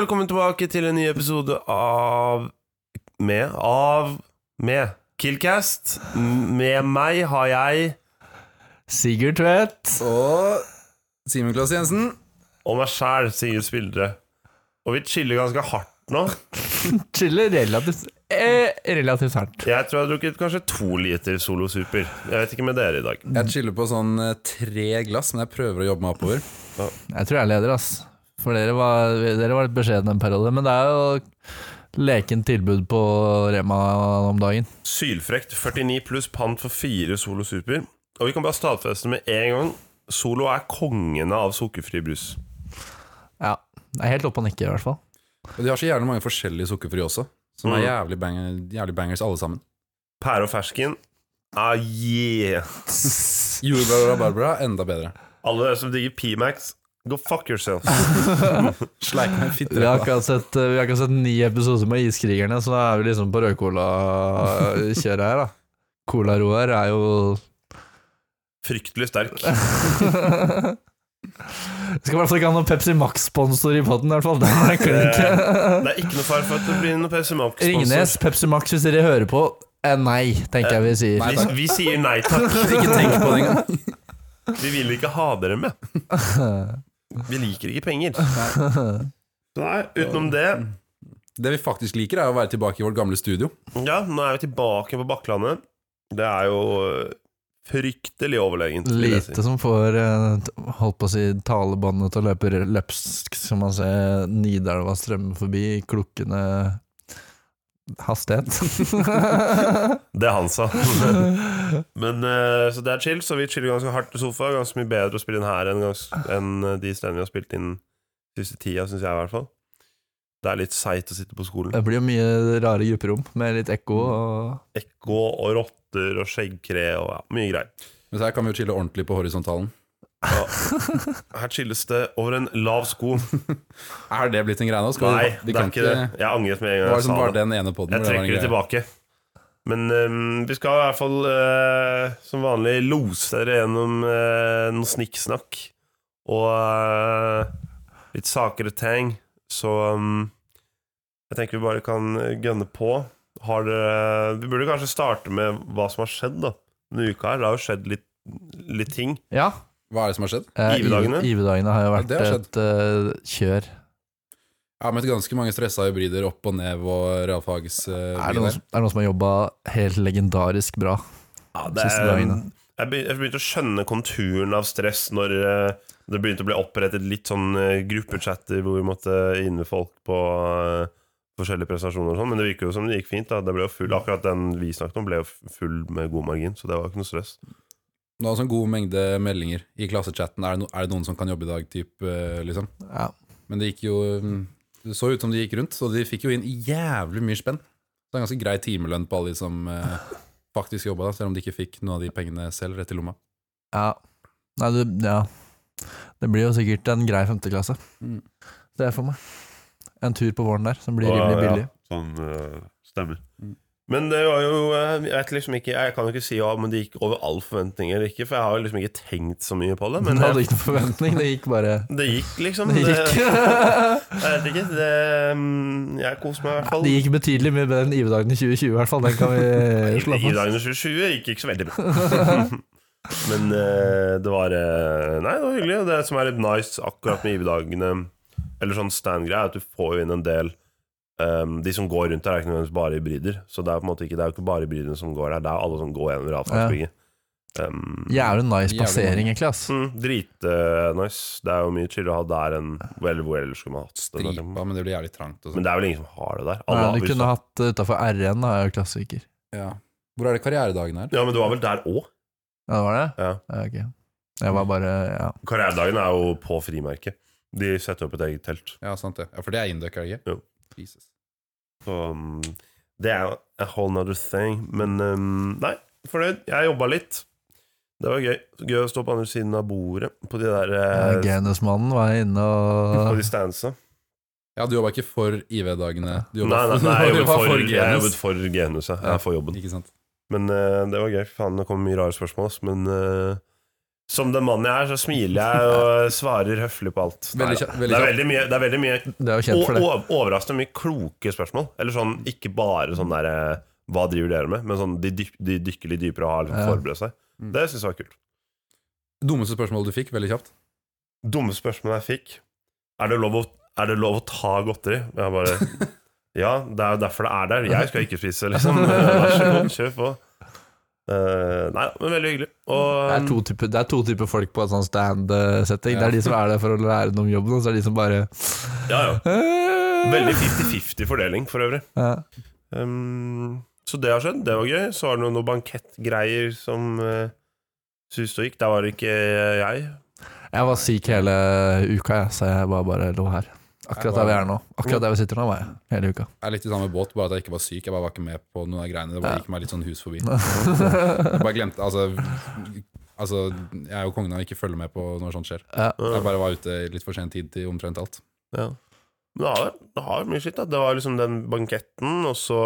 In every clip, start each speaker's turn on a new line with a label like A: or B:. A: tilbake til en ny episode av Med Av Med Killcast. M- Med meg har jeg
B: Sigurd Tvedt.
C: Og Simen Klaas Jensen.
A: og meg sjæl, Sigurd Spildre. Og vi chiller ganske hardt nå.
B: Chiller relativt, eh, relativt hardt.
A: Jeg tror jeg har drukket kanskje to liter Solo Super. Jeg vet ikke med dere i dag.
C: Jeg chiller på sånn eh, tre glass, men jeg prøver å jobbe meg oppover.
B: Jeg tror jeg er leder, ass. For dere var, dere var litt beskjedne en periode. Men det er jo lekent tilbud på Rema om dagen.
A: Sylfrekt 49 pluss pant for fire Solo Super. Og vi kan bare stadfeste med en gang Solo er kongene av sukkerfri brus.
B: Ja. Det er helt oppe og nikke, i hvert fall.
C: Og de har så jævlig mange forskjellige sukkerfri også, som er
A: Mm.
C: jævlig, banger, jævlig bangers alle sammen.
A: Pære og fersken. Ah, yeah.
C: Jordbær og rabarbra, enda bedre.
A: Alle dere som digger P-Max, go fuck yourself.
C: Sleik meg fitte.
B: Vi har akkurat sett, vi har akkurat sett ni episoder med Iskrigerne, så da er vi liksom på rødcola-kjøret her, da. Cola-Roar er jo
A: Fryktelig sterk. Eh,
B: Skal i hvert fall ikke ha noen Pepsi Max-sponsor i poden, i hvert fall. Det er klink.
A: Det er ikke noe fare for at det blir noe PC Max-sponsor.
B: Ringnes, Pepsi Max, hvis dere hører på. Eh, nei, tenker jeg vi sier.
C: Nei,
A: Vi, vi sier nei takk.
C: Ikke tenk på det engang.
A: Vi vil ikke ha dere med. Vi liker ikke penger. Nei, utenom det
C: Det vi faktisk liker, er å være tilbake i vårt gamle studio.
A: Ja, nå er vi tilbake på Bakklandet. Det er jo øh, fryktelig overlegent. vil jeg si.
B: Lite som får eh, t- holdt på å si talebåndet til å løpe rø- løpsk, som man ser Nidelva strømme forbi i klukkende hastighet.
A: Det han sa. Men, øh, så det er chill, så vi chiller ganske hardt i sofa. Ganske mye bedre å spille inn her enn, gans- enn øh, de stedene vi har spilt inn siste tida, syns jeg i hvert fall. Det er litt seigt å sitte på skolen.
B: Det blir jo mye rare grupperom med litt ekko
A: Mm.
B: og
A: Ekko og rotter og skjeggkre og ja, mye greier.
C: Men så her kan vi jo chille ordentlig på horisontalen.
A: Her chilles det over en lav sko.
C: Er det blitt en greie nå? Skal vi-
A: Nei,
C: vi
A: det er
C: kan
A: ikke det. Jeg angret med en gang
C: Hva var
A: jeg
C: det som
A: sa
C: var
A: det.
C: den ene podden
A: Jeg
C: hvor det var
A: trekker
C: en
A: det
C: greie?
A: tilbake. Men ehm, vi skal i hvert fall eh, som vanlig lose dere gjennom eh, noe snikksnakk og eh, litt saker og ting. Så ehm, jeg tenker vi bare kan gønne på. Har dere Vi burde kanskje starte med hva som har skjedd da denne uka. her. Det har jo skjedd litt, litt ting.
B: Ja.
C: Hva er det som har skjedd?
B: eh,
A: Ivedagene?
B: Ive- Ivedagene har jo
C: Ja,
B: vært
C: det har
B: et eh, kjør.
C: Jeg har møtt ganske mange stressa hybrider opp og ned og realfags eh,
B: Er det
C: biler.
B: noen, som- er det noen som har jobba helt legendarisk bra?
A: Ja, det
B: Siste
A: er,
B: dagene.
A: jeg begy- jeg begynte å skjønne konturen av stress når eh, det begynte å bli opprettet litt sånn eh, gruppechatter hvor vi måtte inne folk på eh, forskjellige prestasjoner og sånn, men det virker jo som det gikk fint. da Det ble jo full, Akkurat den vi snakket om, ble jo full med god margin, så det var jo ikke noe stress.
C: Det var en sånn god mengde meldinger i klassechatten. Er det, no, er det noen som kan jobbe i dag? Typ, eh, liksom.
B: Ja.
C: Men det gikk jo mm, Det så ut som de gikk rundt, og de fikk jo inn jævlig mye spenn. Så det er en ganske grei timelønn på alle de som eh, faktisk jobba, da, selv om de ikke fikk noen av de pengene selv rett i lomma.
B: ja. Nei, du Ja. Det blir jo sikkert en grei femteklasse.
C: Mm.
B: Det er for meg. En tur på våren der som blir
A: Og,
B: rimelig
A: ja,
B: billig.
A: sånn eh, stemmer.
C: Mm.
A: Men det var jo eh, Jeg vet liksom ikke Jeg kan jo ikke si ja, men det gikk over all forventning eller ikke, for jeg har jo liksom ikke tenkt så mye på det.
B: Men
A: Men
B: det hadde
A: jeg,
B: ikke noen forventning. Det gikk bare
A: det gikk, liksom.
B: Det gikk.
A: Jeg vet ikke. Det, mm, jeg koser meg i hvert fall.
B: Det gikk betydelig mye bedre enn Ivedagene 2020, i hvert fall. Den kan vi slå
A: I
B: fast.
A: dagene 2020 gikk ikke så veldig bra. Men eh, det var eh, Nei, det var hyggelig. Og det som er litt nice akkurat med IV-dagene, eller sånn stand-greie, er at du får jo inn en del ehm, De som går rundt der, er ikke nødvendigvis bare hybrider. Så det er på en måte ikke, det er jo ikke bare hybridene som går der, det er alle som går gjennom realfagsbygget. Um,
B: Jævlig nice
C: Jævlig
B: plassering, egentlig. ass
A: mm, Dritnice. det er jo mye chillere å ha der enn Eller hvor ellers skulle man hatt det. liksom.
C: Stripa, men det blir jævlig trangt. Og
A: Men
C: sånn.
A: det er vel ingen som har det der. Alle
B: Nei,
A: har
B: du
A: buss-
B: kunne hatt eh, det utafor RN, da, er jo klassiker.
C: ja. Hvor er det karrieredagen her?
A: Ja, men det var vel der òg.
B: Ja, det var det?
A: Ja.
B: ok. Jeg var bare ja.
A: Karrieredagen er jo på frimerket. De setter opp et eget telt.
C: Ja, sant det. Ja, For det er induck, er det ikke?
A: Jo.
C: Jesus.
A: Så um, det er jo a whole nother thing. Men um, nei, fornøyd. Jeg jobba litt. Det var gøy. Gøy å stå på andre siden av bordet på de der eh,
B: Genusmannen var inne
A: På
B: og
A: de standsa.
C: Ja, du jobba ikke for IV-dagene.
A: Nei,
C: Du jobba
A: nei, nei, jeg
C: du
A: jobbet
C: jobbet
A: for, jeg
C: Genes.
A: jobbet for genuset. Jeg er for jobben.
C: Ikke sant.
A: Men eh, det var gøy. Fy Faen, det kom mye rare spørsmål, ass. Men eh, Som den mannen jeg er, så smiler jeg og svarer høflig på alt.
C: Veldig
A: Neida.
C: kjapt- veldig
A: det er
C: kjapt.
A: veldig mye, det er veldig mye
B: Du er jo kjent for det.
A: og- og- overraskende mye kloke spørsmål. Eller sånn, ikke bare sånn der eh, Hva driver dere med? Men sånn, de, dyp, de dykker litt dypere og har liksom
B: Ja. Mm.
A: forberedt seg. Det syns jeg var kult.
C: Dummeste spørsmålet du fikk, veldig kjapt.
A: Dumme spørsmål jeg fikk. Er det lov å, er det lov å ta godteri? Jeg bare Ja, det er jo derfor det er der. Jeg skal ikke spise, liksom. Vær så god, kjør på. Eh, nei, men veldig hyggelig.
B: Det er
A: Og
B: to typer, det er to typer folk på en sånn stand-setting. Det er de som er der for å lære noe om jobben, og så er det de som bare
A: ja, ja. Veldig 50-50 fordeling, for øvrig.
B: ja.
A: Ehm, så det har skjedd. Det var gøy. Så var det noen, noen bankettgreier som uh, suste og gikk. Der var det ikke jeg.
B: Jeg var syk hele uka, jeg, så jeg bare, bare lå her. Akkurat der vi er nå. Akkurat der vi sitter nå, var jeg hele uka.
C: Jeg er litt i samme båt, bare at jeg ikke var syk. Jeg bare var ikke med på noen av greiene. Det bare gikk meg litt sånn hus forbi. Jeg bare glemte Altså, altså jeg er jo kongen av å ikke følge med på når sånt skjer.
B: Ja.
C: Jeg bare var ute litt for sen tid til omtrent alt.
A: Ja. Men det har, det har mye skitt. da. Det var liksom den banketten, og så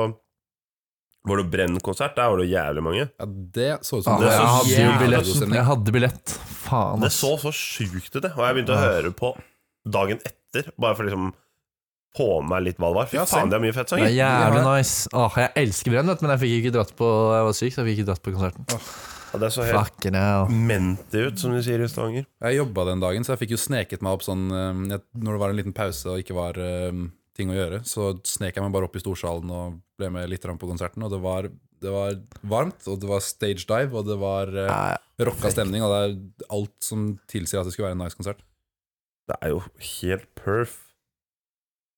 A: var det Brenn-konsert. Der var det jævlig mange.
C: Ja, det så ut som
B: Ah,
A: Det er
B: jeg
C: var
A: så
B: hadde jo
A: jævlig
B: billetten.
C: stemning.
B: Jeg hadde billett. Faen,
A: Det
B: ass.
A: så så sjukt ut, det. Og jeg begynte å
B: Ah.
A: høre på dagen etter, bare for liksom få med meg litt hva det var. Fy
C: Ja,
A: faen,
C: same.
A: det er mye fett
B: Det er
A: sanger.
B: jævlig
C: Ja.
B: nice. Åh, jeg elsker Brenn, vet du, men jeg fikk ikke dratt på Jeg var syk, så jeg fikk ikke dratt på konserten.
A: Ja, det så helt
B: Fucking hell.
A: menti ut, som de sier i Stavanger.
C: Jeg jobba den dagen, så jeg fikk jo sneket meg opp sånn eh, jeg, Når det var en liten pause og ikke var eh, ting å gjøre, så snek jeg meg bare opp i storsalen og ble med litt grann på konserten. Og det var, det var varmt, og det var stage dive, og det var eh,
B: Nei,
C: rocka stemning, og det er alt som tilsier at det skulle være en nice konsert.
A: Det er jo helt perf.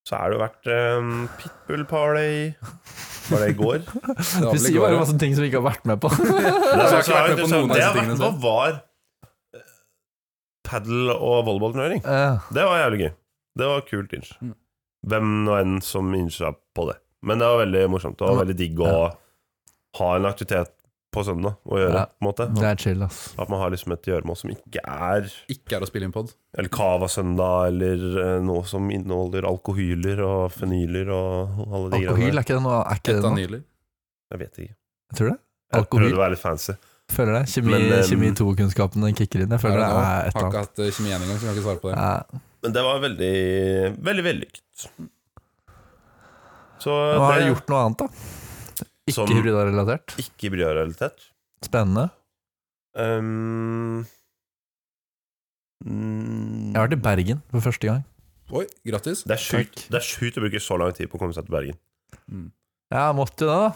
A: Så er det jo vært um, Pitbull Party Var det i går? Det,
C: Det
B: Du
C: var vel i
B: sier
C: går,
B: bare
C: ja.
B: masse ting som vi ikke har vært med på.
A: er,
C: har
A: så,
C: ikke vært med på noen av
A: det
C: disse
A: har vært,
C: tingene
A: hva
C: selv.
A: var eh, padel og volleyballturnering?
B: Ja.
A: Det var jævlig gøy. Det var kult inch.
C: Mm.
A: Hvem nå enn som incha på det. Men det var veldig morsomt. Det var veldig digg å ha en aktivitet på søndag å gjøre.
B: Ja.
A: på en måte
B: Det er chill, ass.
A: At man har liksom et gjøremål som ikke er
C: Ikke er å spille inn pod.
A: Eller Cava-søndag, eller eh, noe som inneholder alkohyler og fenyler og og alle de
B: Alkohyl, er ikke det noe? Er ikke det noe?
C: Ketanyler.
A: Jeg vet ikke.
B: Jeg tror det.
A: Jeg
B: Alkohyl?
A: prøvde å være litt fancy.
B: Føler det. Kjemi,
A: Men, eh,
B: kjemi 2-kunnskapene kicker inn. Jeg
C: Er
B: føler
C: det
B: det er
C: nå?
B: et
C: Har
B: eller
C: ikke
B: annet.
C: hatt eh, kjemi én engang, så jeg kan ikke svare på det.
B: Ja.
A: Men det var veldig veldig vellykket. Så
B: Nå har
A: det
B: jeg
A: er
B: gjort noe annet, da. Ikke
A: Som-
B: hybrida-relatert.
A: ikke brødrealitet.
B: Spennende.
A: Um, mm,
B: Jeg har vært i Bergen for første gang.
C: Oi, grattis.
A: det er sjukt det er sjukt å bruke så lang tid på å komme seg til Bergen.
B: Ja, måtte jo det, da.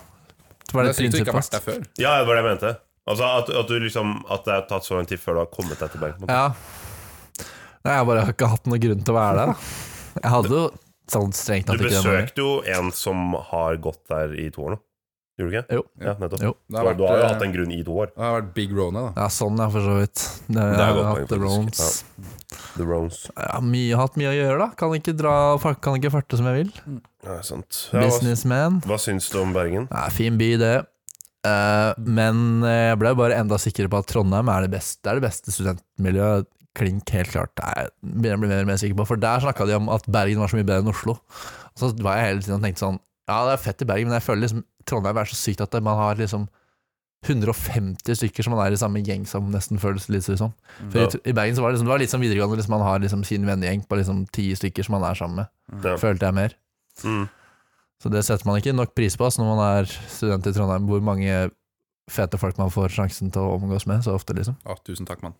B: Det var
C: Mm. Det
B: litt
C: er sykt du ikke har
B: prinsippfast.
C: vært der før.
A: Ja, det var det jeg mente. Altså At, at, du liksom, at det har tatt så lang tid før du har kommet deg til Bergen.
B: Ja. Nei, jeg bare har ikke hatt noen grunn til å være der, da. Jeg hadde jo sånn strengt
A: Du
B: tatt ikke det. med meg.
A: besøkte jo en som har gått der i to år nå. Gjorde du ikke?
B: Jo.
A: Ja, nettopp.
B: Jo.
C: Det
A: Så du har jo
C: eh,
A: hatt en grunn i to år.
C: det har vært big rona, da.
B: Ja, sånn, ja, for så vidt. Det,
A: er
B: jeg
A: godt
B: har
A: poeng,
B: hatt
A: faktisk.
B: rounds.
A: The Rones.
B: Jeg har mye, hatt mye å gjøre, da. Kan ikke, dra, kan ikke farte som jeg vil.
A: Ja, sant. Ja, hva,
B: Businessman.
A: hva syns du om Bergen?
B: Det er fin by, det. Eh, men jeg ble bare enda sikrere på at Trondheim er det beste, det er det beste studentmiljøet. Klink, helt klart. Det er- begynner jeg å bli mer og mer sikker på. For der snakka de om at Bergen var så mye bedre enn Oslo. Og så var jeg hele tiden og tenkte sånn Ja, det er fett i Bergen, men jeg føler liksom Trondheim er så sykt at man har liksom 150 stykker som man er i samme gjeng som, nesten føles litt sånn som. For
A: Ja.
B: i, i Bergen så var det liksom Det var litt som videregående, liksom, man har liksom sin vennegjeng på liksom ti stykker som man er sammen med.
A: Ja.
B: Følte jeg mer.
A: Mm.
B: Så det setter man ikke nok pris på ass, når man er student i Trondheim, hvor mange fete folk man får sjansen til å omgås med så ofte, liksom.
C: Å, tusen takk, mann.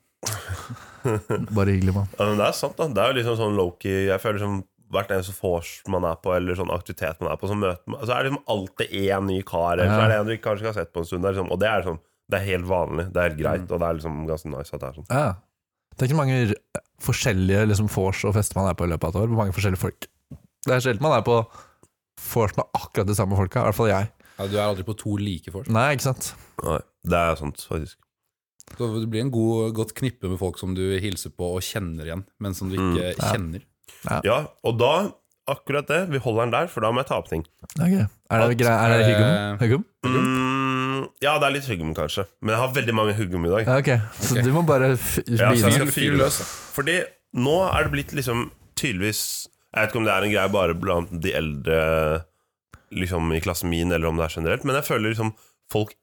B: Bare hyggelig, mann.
A: Ja, men Det er sant, da. Det er jo liksom sånn Loki Jeg føler som hvert eneste vors man er på, eller sånn aktivitet man er på, så møter man Så er det liksom alltid én ny kar, eller så
B: Ja.
A: er det en du ikke kanskje ikke har sett på en stund. Det er liksom, og det er liksom Det er helt vanlig. Det er helt greit, og det er liksom ganske nice at det er sånn.
B: Ja. Tenk hvor mange r- forskjellige liksom, vors og fester man er på i løpet av et år. Hvor mange forskjellige folk. Det er sjelden man er på vors med akkurat de samme folka. I hvert fall jeg.
C: Ja, du er aldri på to like folk.
B: Nei, ikke sant?
A: Nei, det er sant, faktisk.
C: Så det blir en god, godt knippe med folk som du hilser på og kjenner igjen, men som du ikke
A: Mm.
C: kjenner.
A: Ja, og da Akkurat det. Vi holder den der, for da må jeg ta opp ting.
B: Ja, ok. Er det, grei, er det
C: Eh,
B: huggum? huggum?
A: Mm, ja, det er litt huggum, kanskje. Men jeg har veldig mange huggum i dag.
B: Ja, ok. Så du må bare f
A: Ja, så jeg
B: begynne.
A: skal fyre løs. Fordi nå er det blitt liksom tydeligvis Jeg vet ikke om det er en greie bare blant de eldre liksom i klassen min, eller om det er generelt, men jeg føler liksom folk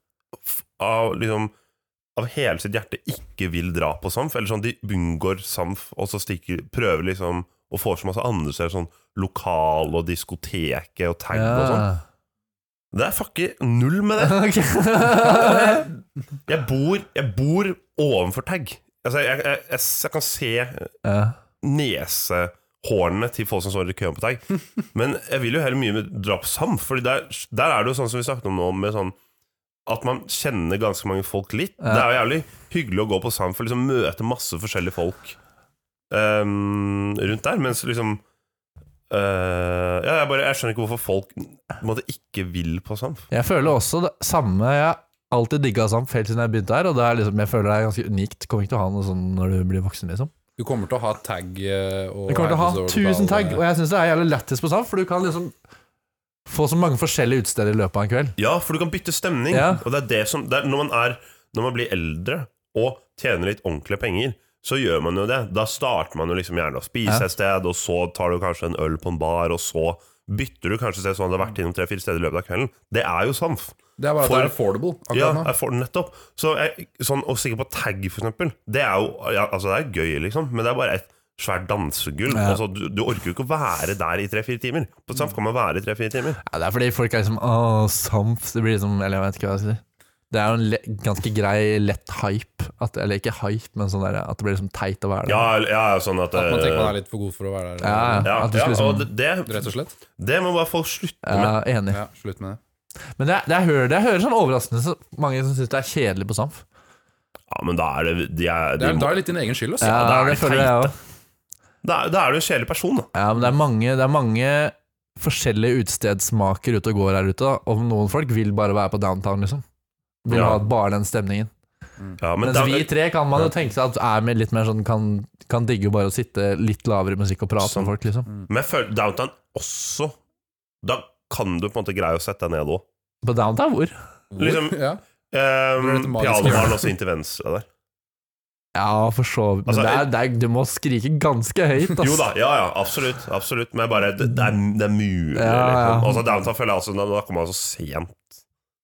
A: f- av liksom av hele sitt hjerte ikke vil dra på SAMF. Eller sånn, de unngår SAMF, og så stikker, prøver liksom å få så masse andre steder. Sånn lokal og diskoteket og tag og sånn. Det er fucker null med det.
B: Ok.
A: Jeg bor, jeg bor ovenfor tag. Altså, jeg, jeg, jeg, jeg kan se
B: ja.
A: nesehårene til folk som står i køen på tag. Men jeg vil jo heller mye med dra på SAMF, Fordi der, der er det jo sånn som vi snakket om nå, med sånn at man kjenner ganske mange folk litt.
B: Ja.
A: Det er jo jævlig hyggelig å gå på SAMF og liksom møte masse forskjellige folk ehm, rundt der, mens liksom eh, ja, jeg, bare, jeg skjønner ikke hvorfor folk på en måte, ikke vil på SAMF.
B: Jeg føler også det samme Jeg har alltid digga Samf helt siden jeg begynte her, og det er liksom, jeg føler det er ganske unikt. Kommer ikke til å ha noe sånn når du blir voksen, liksom.
C: Du kommer til å ha tag eh, og
B: Du kommer til å ha
C: Hermes og
B: tusen
C: lokale-
B: tagg, og jeg syns det er jævlig lættis på Samf, for du kan liksom få så mange forskjellige utesteder i løpet av en kveld.
A: Ja, for du kan bytte stemning.
B: Ja.
A: Og det er det som det er, når, man er, når man blir eldre og tjener litt ordentlige penger, så gjør man jo det. Da starter man jo liksom gjerne å spise
B: Ja.
A: et sted, og så tar du kanskje en øl på en bar, og så bytter du kanskje sted sånn at du har vært innom tre-fire steder i løpet av kvelden. Det er jo samf.
C: Det er bare at det
A: For-
C: er affordable akkurat
A: Ja,
C: nå.
A: jeg får den nettopp. Så jeg, sånn, og sikkert på tag, for eksempel. Det er jo ja, altså det er gøy, liksom, men det er bare et svært dansegulv.
B: Ja.
A: Altså, du, du orker jo ikke å være der i tre-fire timer. På samf kan man være i tre-fire timer.
B: Ja, det er fordi folk er liksom Åh, Samf. Det blir liksom Eller jeg vet ikke hva jeg skal si. Det er jo en le ganske grei, lett hype. At, eller ikke hype, men sånn der, at det blir liksom teit å være der.
A: Ja, ja sånn at,
C: At man tenker man
A: eh,
C: er litt for god for å være der,
B: Ja,
A: ja,
B: at du
A: ja,
B: skal liksom
A: og det, det
C: rett og slett.
A: Det må bare folk slutte med.
B: ja, Enig.
C: Ja, Slutt med det.
B: Men det, er- det, jeg, hører, det jeg hører sånn overraskende så mange som syns det er kjedelig på Samf.
A: Ja, men da er det de er,
C: det
A: de
C: er,
A: må,
C: da er det litt din egen skyld, altså. ass.
A: Ja, da er
B: det
A: det
B: føler jeg
A: teit,
B: også.
A: da, er- da er du en kjedelig person,
C: Mm.
A: da.
B: Ja, men det er mange, det er mange forskjellige utestedsmaker ute og går her ute. Da. Og noen folk vil bare være på downtown, liksom. Vil
A: Ja.
B: ha bare den stemningen.
A: Ja, men
B: Mens
A: da-
B: vi tre kan man jo tenke seg at er med litt mer sånn kan, kan digge bare å sitte litt lavere i musikk og prate
A: Sant.
B: med folk, liksom.
A: men jeg føler downtown også Da kan du på en måte greie å sette deg ned òg.
B: På downtown hvor?
C: Hvor-
A: liksom-
C: ja. Det er litt
A: Um,
C: magisk.
A: Pianobaren også inn til venstre der.
B: Ja, for så vidt. Men
A: Altså,
B: det er, det er, du må skrike ganske høyt, ass.
A: Jo da, ja ja, absolutt. absolutt Men jeg bare det, det, er, det er mulig.
B: Ja, ja.
A: Liksom. Altså, downtown føler jeg også Da, da kommer man så sent.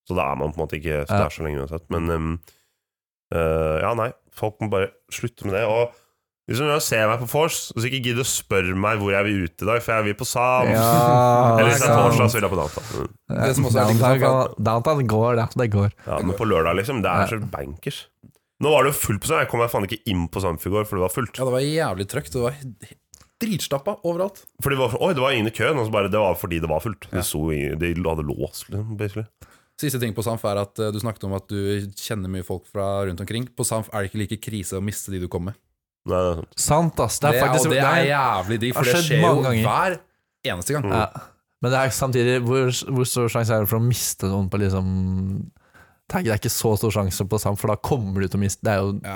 A: Så da er man på en måte ikke så, det er så lenge uansett. Men um, øh, ja, nei. Folk må bare slutte med det. Og hvis du ser meg på Force, så ikke gidd å spørre meg hvor jeg vil ut i dag, for jeg vil på SAM.
B: Ja,
A: Eller hvis det er
B: sant.
A: torsdag, så vil jeg på downtown. Mm.
B: Ja,
C: Det som også er digg,
B: downtown,
C: sant,
B: kan- downtown går, det. Det går.
A: Ja, men på lørdag, liksom. Det er så bankers. Nå var det jo fullt på sånn. Jeg kom meg faen ikke inn på Samf i går, for det var fullt.
C: ja, det var jævlig trøkt. og Det var he- dritstappa overalt.
A: For det var, så- oi, det var ingen i køen, og så bare Det var fordi det var fullt. Det sto ingen, de hadde lås, liksom. basically.
C: Siste ting på Samf er at eh, du snakket om at du kjenner mye folk fra rundt omkring. På Samf er det ikke like krise å miste de du kom med.
A: Nei, det er sant.
B: Sant, ass. Det
C: Det
B: er
C: er,
B: faktisk
C: og det er jævlig digg, for
B: har
C: det
B: skjedd
C: skjer jo
B: mange
C: hver eneste gang.
B: Ja. Men det er samtidig hvor, hvor stor sjanse er det for å miste noen på liksom Tenk, Det er ikke så stor sjanse på Samf, for da kommer du til å miste Det er jo
C: Ja,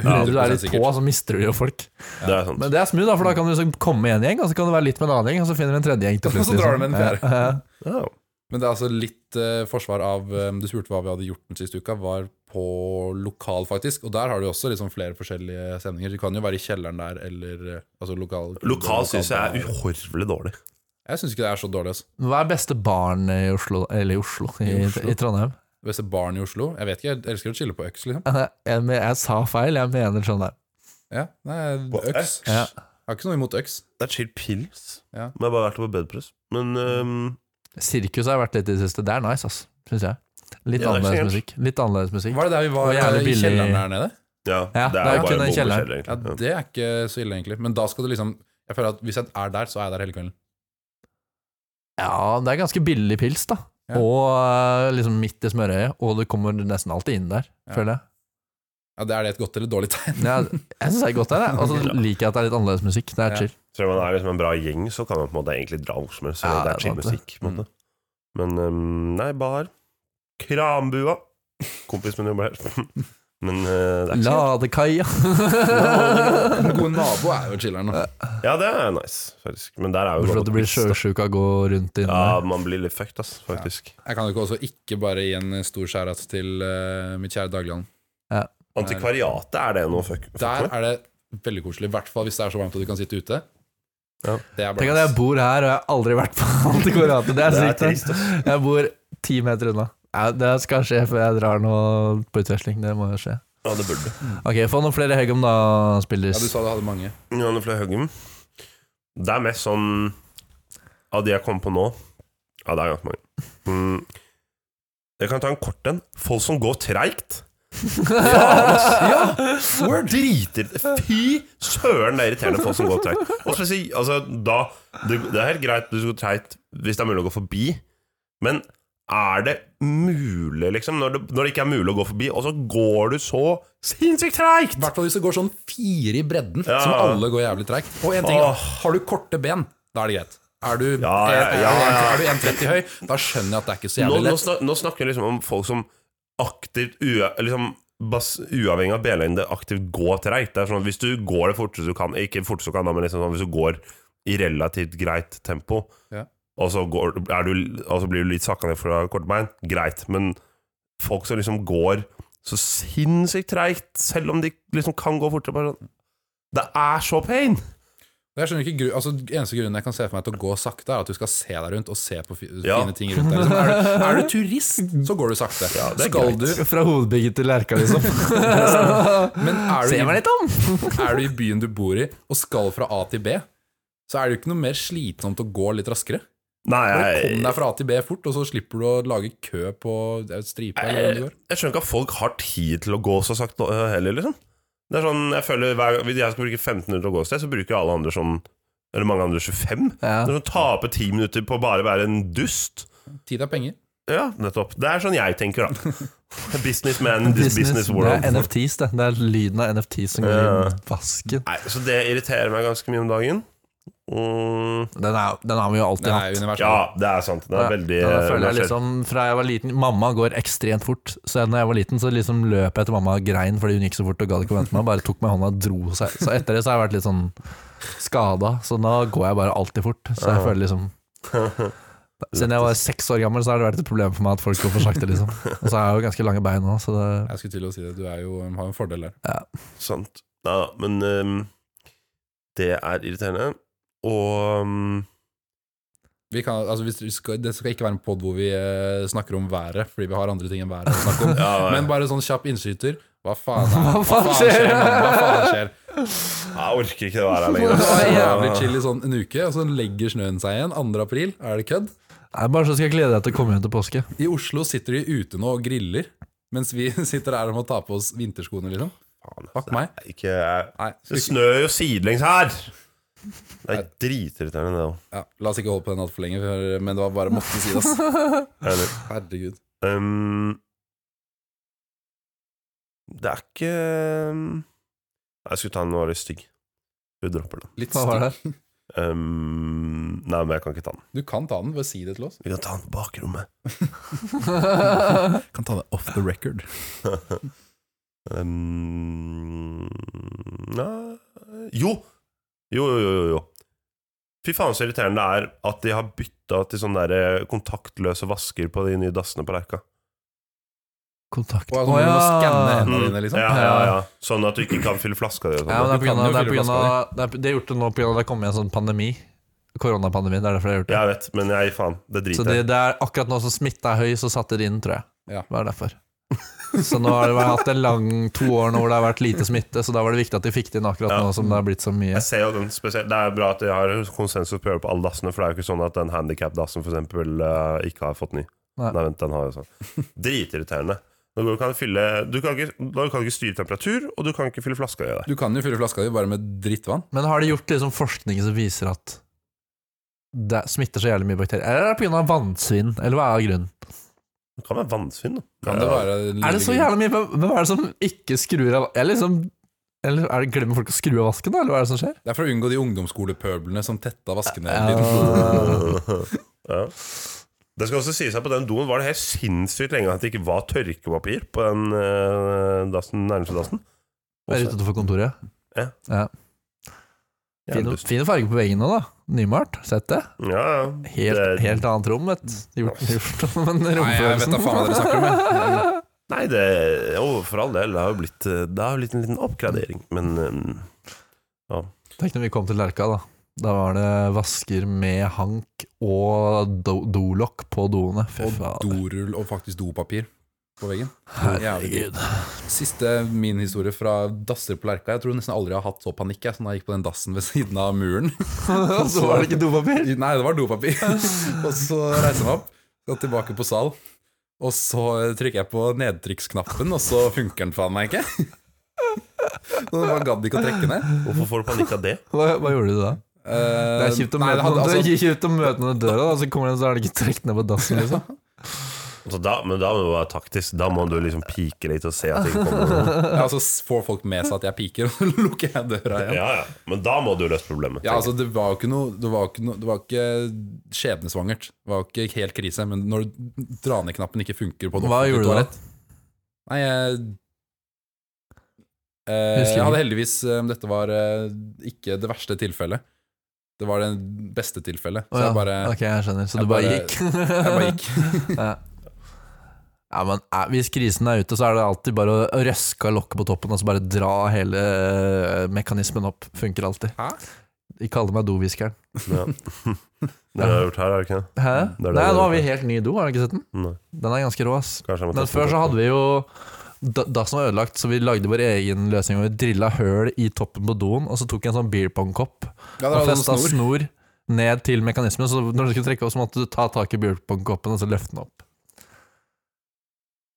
B: Når du er
C: 100%
B: litt
C: sikkert.
B: på, så mister du jo folk.
A: Det er sant.
B: Men det er smooth, da, for da kan du liksom komme med en gjeng, og så kan du være litt med en annen gjeng, og så finner du en tredje gjeng til
C: Og
B: slutt.
C: så drar du med en
B: liksom.
C: fjerde.
B: Ja, ja.
A: Ja.
C: Men det er altså litt eh, forsvar av eh, Du spurte hva vi hadde gjort den siste uka, var på lokal, faktisk. Og der har du også liksom flere forskjellige stemninger. Du kan jo være i kjelleren der, eller eh, altså lokal
A: Lokal syns jeg er uhorvelig dårlig.
C: Jeg syns ikke det er så dårlig, altså.
B: Hva er beste baren i Oslo, eller i Oslo, i, i,
C: I Oslo?
B: Trondheim?
C: Hvis det er barn i Oslo Jeg vet ikke, jeg elsker å chille på øks, liksom.
B: Jeg, jeg, jeg sa feil, jeg mener Trondheim.
C: Ja, nei,
A: På
C: øks.
A: øks?
B: Ja.
C: Jeg har ikke noe imot øks.
A: Det er chill pils.
C: Ja.
A: Men jeg har bare vært på bedpress. Men øhm,
B: Sirkus har jeg vært litt i det siste. Det er nice, ass, syns jeg. Litt
A: Ja, det er ikke
B: annerledes musikk. Litt annerledes musikk.
C: Var det der vi
B: Og
C: var
B: jævlig
C: eh, i
B: billig.
C: kjelleren der nede?
A: ja,
B: Ja,
A: det
B: det
A: er
B: er
A: jo
B: kun
A: bare
B: den kjelleren.
A: bombekjeller,
C: Ja,
A: egentlig. Ja.
C: Det er ikke så ille, egentlig. Men da skal du liksom Jeg føler at hvis jeg er der, så er jeg der hele kvelden.
B: Ja, det er ganske billig pils, da.
C: Ja.
B: Og eh, liksom midt i smørøyet, og du kommer nesten alltid inn der,
C: Ja.
B: føler jeg.
C: Ja, det Er det et godt eller dårlig tegn?
B: Ja, jeg syns det er godt der, jeg. Og så liker jeg at det er litt annerledes musikk. Det er
C: Ja.
B: chill.
A: Så man er liksom en bra gjeng, så kan man på en måte egentlig dra hvor som helst.
B: Ja,
A: selv om det er chill
B: det er sant
A: musikk. på en måte. Men øhm, nei, bar. Krambua. Kompis min jobber her. Men øh, det er ikke
B: Ladekaia.
C: Den gode nabo er jo chiller'n. da.
A: så- Ja, det er nice, faktisk. Men der er jo
B: Hvorfor
A: godt
B: at du blir
A: piss, da.
B: sjøsjuk av å gå rundt inne
A: Ja, man blir litt fucked, ass, faktisk.
C: Jeg kan jo ikke også ikke bare gi en stor skjærat til eh, mitt kjære Dagland.
A: Antikvariatet, er det noe fuck? fuck
C: Der
A: med?
C: er det veldig koselig, i hvert fall hvis det er så varmt at du kan sitte ute.
A: Ja.
C: Det er
B: Tenk at jeg
C: bra.
B: bor her, og jeg har aldri vært på Antikvariatet. Det er
A: Det er
B: sykt.
A: trist,
B: ass. Jeg bor ti meter unna. Ja, det skal skje før jeg drar nå på utveksling. Det må jo skje.
A: Ja, det burde.
B: Ok, få noen flere Hegum da,
C: Ja, Du
B: spillers.
C: sa du hadde mange.
A: Ja, det er flere Høgum. Det er mest sånn Av de jeg kom på nå Ja, det er ganske mange. Mm. Jeg kan ta en kort en. Folk som går treigt.
C: Ja! Word!
A: Driter Fy søren, det er irriterende folk som går treigt. Og spesielt altså, da det, det er helt greit du skal gå treigt hvis det er mulig å gå forbi, men er det mulig, liksom? Når det, når det ikke er mulig å gå forbi, og så går du så sinnssykt treigt!
C: I hvert fall hvis det går sånn fire i bredden,
A: Ja.
C: som alle går jævlig treigt. Og en ting,
A: Åh.
C: har du korte ben, da er det greit. Er du, eh,
A: Ja, ja, ja, ja.
C: er du 1,30 høy, da skjønner jeg at det er ikke så
A: nå,
C: jævlig
A: nå,
C: lett.
A: snak, nå snakker jeg liksom om folk som aktivt ua, liksom, bas, Uavhengig av benlengde aktivt går treigt. Det er sånn at Hvis du går det forteste du kan Ikke forteste du kan, da, men liksom sånn, hvis du går i relativt greit tempo,
C: Ja.
A: og, så går, er du, og så blir du litt sakka ned fra kortbein, greit. Men folk som liksom går så sinnssykt treigt, selv om de liksom kan gå fortere bare sånn, Det er så pain!
C: Jeg skjønner ikke, gru- altså, Eneste grunnen jeg kan se for meg til å gå sakte, er at du skal se deg rundt og se på fi,
A: Ja.
C: fine ting rundt deg. Liksom. Er, du, er du turist, så går du sakte.
A: det er
C: skal
A: greit.
C: du
B: Fra hodebygget til Lerka, liksom.
C: Men er du,
B: Se meg
C: i,
B: litt om!
C: er du i byen du bor i, og skal fra A til B, så er det jo ikke noe mer slitsomt å gå litt raskere.
A: Nei,
C: Bare
A: jeg-
C: kom deg fra A til B fort, og så slipper du å lage kø på det er jo stripe eller hvor det går.
A: Eh, Jeg skjønner ikke at folk har tid til å gå så sakte øh, heller, liksom. Det er sånn, jeg føler hver, Hvis jeg skal bruke 15 minutter å gå et sted, så bruker alle andre sånn Eller mange andre 25.
B: Ja.
A: Det er sånn Tape 10 minutter på å bare være en dust.
C: Tid er penger.
A: Ja, nettopp. Det er sånn jeg tenker, da. Businessman in this business world.
B: Det er NFTs, det. Det er lyden av NFTs som går
A: Ja.
B: i vasken.
A: Nei, så det irriterer meg ganske mye om dagen. Mm,
B: Den, er, den har vi jo alltid
C: Det
B: hatt.
C: er
A: ja,
C: universelt.
A: det er sant. Det er
B: Ja,
A: veldig eh,
B: ja, det føler jeg
A: universelt.
B: liksom Fra jeg var liten Mamma går ekstremt fort. Så når jeg var liten, så liksom løp jeg etter mamma og grein fordi hun gikk så fort og gadd ikke å vente meg. Bare tok meg i hånda og dro seg. Så etter det så har jeg vært litt sånn skada. Så nå går jeg bare alltid fort. Så jeg føler liksom Siden jeg var seks år gammel, så har det vært et problem for meg at folk går for sakte. liksom Og så har jeg jo ganske lange bein nå, så det
C: Jeg skulle til å si det. Du er jo, har jo en fordel der.
A: Sant. Ja, da, men ehm, det er irriterende. Og ehm,
C: Vi kan, altså, hvis du skal, det skal ikke være en pod hvor vi eh, snakker om været, fordi vi har andre ting enn været å snakke om.
A: ja, ja.
C: Men bare sånn kjapp innskyter. Hva faen, er,
B: Hva faen skjer?
C: man? Hva faen skjer?
A: Jeg orker ikke det være her lenger. altså.
C: Det
A: ass.
C: var jævlig chill i sånn en uke, og så legger snøen seg igjen. 2. april, er det kødd?
B: Nei, bare så skal jeg glede deg til å komme hjem til påske.
C: I Oslo sitter de ute nå og griller, mens vi sitter her og må ta på oss vinterskoene, liksom.
A: Faen, altså. ass.
C: Fuck meg.
A: Ikke,
C: Nei, skal
A: det
C: vi ikke,
A: snør jo sidelengs her! Det er dritirriterende, det òg.
C: ja, la oss ikke holde på den altfor lenge, for- men det var bare måtte si det, ass.
A: Eller,
C: Herregud.
A: ehm, det er ikke ehm, Nei, Jeg skulle ta den, den var litt stygg. Du dropper den.
C: Litt
B: Hva var det
C: stygg.
B: her?
A: Ehm, nei, men jeg kan ikke ta den.
C: Du kan ta den, bare si det til oss.
A: Vi kan ta den på bakrommet.
C: Kan ta det off the record.
A: Ehm, nei Jo! Jo, jo, jo, jo, jo. Fy faen så irriterende det er at de har bytta til sånne der eh, kontaktløse vasker på de nye dassene på Lerka.
B: Kontakt.
C: Og altså, du må skanne
B: ja.
C: hendene dine, liksom.
A: Ja, ja, ja. Sånn at du ikke kan fylle flaska di og sånn.
B: Mm. Ja, men det er
C: Du
B: på grunn
C: kan
B: av, det er på
C: jo fylle
B: grunn av det er, De har gjort det nå på grunn av det har kommet en sånn pandemi. Koronapandemi. Det er derfor de har gjort det.
A: Jeg vet, men jeg faen. Det
B: så
A: driter
B: det,
A: jeg i.
B: det er akkurat nå som smitta er høy, så satte de inn, tror jeg.
C: Ja.
B: Det er derfor. Så nå har det vært- hatt en lang to år nå hvor det har vært lite smitte, så da var det viktig at de fikk det inn akkurat
A: Ja.
B: nå som det har blitt så mye.
A: Jeg ser jo den spesielt Det er bra at de har konsensus på å gjøre på alle dassene, for det er jo ikke sånn at den handikap-dassen for eksempel eh, ikke har fått ny. Nei,
B: Nei.
A: vent, den har jo sånn. Dritirriterende. Nå går- kan du fylle Du kan ikke, da kan du ikke styre temperatur, og du kan ikke fylle flaska di der.
C: Du kan jo fylle flaska di bare med drittvann.
B: Men har de gjort liksom forskning som viser at det smitter så jævlig mye bakterier? Eller er det pga. vannsvinn, eller hva er grunnen?
A: Det kan være vannsvinn, da.
C: Kan det være
B: Er det så jævlig mye Hvem hvem er det som ikke skrur av Eller, liksom, eller er det glemmer folk å skru av vasken, da, eller hva er det som skjer?
C: Det er for å unngå de ungdomsskolepøblene som tetta vaskene.
A: ja. Det skal også sies at på den doen var det helt sinnssykt lenge at det ikke var tørkepapir på den eh, dassen, nærmeste dassen.
B: Det er utenfor kontoret.
A: Ja.
B: ja. Fine,
A: Jævlig.
B: fine farger på veggene da. Nymalt. Sett det.
A: Ja, ja.
B: Helt,
A: Det-
B: helt annet rom, vet du. Gjort, gjort om en
C: Nei, jeg vet da
B: romfølelsen.
C: faen hva dere snakker om. jeg.
A: Nei, det, jo, for all del. Det har jo blitt, eh, det har jo blitt en liten oppgradering. Men um,
B: Tenk når vi kom til Lerka, da. Da var det vasker med hank og do dolokk på doene. Fy
C: Og
B: faen.
C: dorull og faktisk dopapir. på veggen. Jævlig
B: Herregud.
C: Siste min historie fra dasser på Lerka. Jeg tror nesten aldri jeg har hatt så panikk jeg, som da jeg gikk på den dassen ved siden av muren.
B: Så var det ikke dopapir?
C: Nei, det var dopapir. og så reiser jeg meg opp, skal tilbake på sal. Og så trykker jeg på nedtrykksknappen, og så funker den faen meg ikke. Så jeg bare gadd ikke å trekke ned. Eh,
A: Hvorfor får du panikk av det?
B: Hva, hva gjorde du da? Det er kjipt å møte noen Det
C: altså-
B: er kjipt å møte noen i døra, da, så kommer den så er den ikke trukket ned på dassen. Liksom.
A: Altså, da, men da må du være taktisk. Da må du liksom pike litt og se at ting kommer.
C: Ja, altså får folk med seg at jeg piker, og så lukker jeg døra igjen.
A: Ja, ja. Men da må du løse problemet.
C: Ja, altså det var jo ikke noe Det var ikke, noe, det var ikke skjebnesvangert. Det var ikke helt krise, men når dra ned-knappen ikke funker på et
B: Hva
C: offentlig
B: gjorde du da?
C: toalett- Nei, jeg eh,
B: Husker
C: Jeg
B: ikke.
C: hadde heldigvis eh, Dette var eh, ikke det verste tilfellet. Det var det beste tilfellet. Så
B: Å, ja.
C: jeg bare
B: ok, jeg skjønner. Så
C: jeg
B: du bare,
C: bare-
B: gikk?
C: Jeg bare gikk.
B: ja. ja, men eh, Hvis krisen er ute, så er det alltid bare å røske av lokket på toppen og så bare dra hele eh, mekanismen opp. Funker alltid.
C: Hæ?
B: De kaller meg doviskeren.
C: altså.
A: Ja. Det har jeg gjort her, er det ikke det?
B: Hæ?
A: Mm, Det er det
B: Nei,
A: du
B: nå har
A: gjør.
B: vi helt ny do, har du ikke sett den?
A: Nei.
B: Den er ganske rå, ass.
A: Kanskje jeg må
B: Men
A: teste
B: før
A: den
B: så
A: på.
B: hadde vi jo da- Dassen var ødelagt, så vi lagde vår egen løsning. Og vi drilla høl i toppen på doen, og så tok jeg en sånn beer pong-kopp
C: Ja, det
B: og
C: var en
B: festa
C: snor.
B: snor ned til mekanismen. Så når du skulle trekke opp, så måtte du ta tak i beer pong-koppen og så løfte den opp.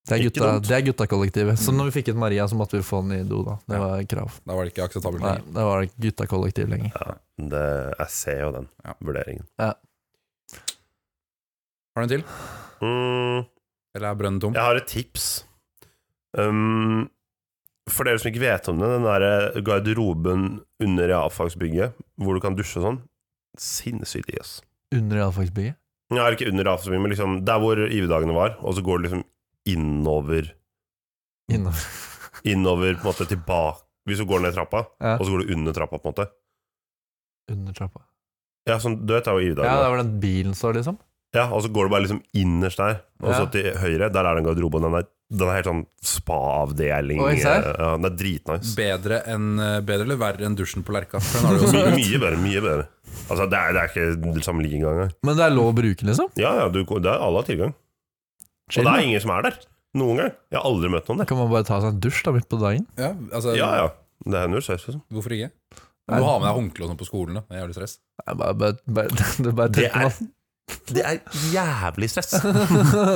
B: Det er,
A: Ikke
B: gutta,
A: dumt. Mm.
B: det er guttakollektivet. Så når vi fikk ut Maria, så måtte vi få den i do, da. Det var krav.
C: Da var det ikke akseptabelt
B: Nei,
C: lenger.
B: det var guttakollektiv lenger.
A: Ja, det, jeg ser jo den
C: Ja.
A: vurderingen.
C: Har du en til?
A: Mm.
C: Eller er brønnen tom?
A: Jeg har et tips. Um, for dere som ikke vet om det, den der eh, garderoben under realfagsbygget, hvor du kan dusje og sånn, sinnssykt i oss.
B: Under realfagsbygget.
A: Nei, ikke under realfagsbygget, men liksom der hvor IV-dagene var, og så går det liksom innover,
B: Innover.
A: innover på en måte tilbake, hvis du går ned trappa,
B: Ja.
A: og så går du under trappa på en måte.
B: Under trappa.
A: Ja, sånn, du vet det er jo
B: Ja,
A: IV-dagene.
B: der hvor den bilen står, liksom.
A: Ja, og så går du bare liksom innerst der, og så
B: Ja.
A: til høyre, der er det en garderobe, og den er, den er helt sånn spa-avdeling.
B: Oi,
A: ja,
B: serr?
A: den er dritnice.
C: Bedre, enn, eh, bedre eller verre enn dusjen på Lerka? For den har du jo
A: Mye, mye bedre, mye bedre. Altså, det er, det er ikke sammenligning engang.
B: Men det er lov å bruke, liksom.
A: Ja, ja, du, det er alle har tilgang. Og
B: Chill,
A: det
B: da.
A: er ingen som er der. Noen gang. Jeg har aldri møtt noen der.
B: Kan man bare ta seg en dusj da midt på dagen?
C: Ja, altså,
A: Ja, ja. Det hender jo surfes. liksom.
C: Hvorfor ikke? Du
B: Nei.
C: må ha med deg håndkle og sånn på skolen. Da. Det er jævlig stress.
B: Nei, bare, bare, bare, det er bare
A: Det
B: tøft,
A: er- Det er jævlig stress.
B: mann.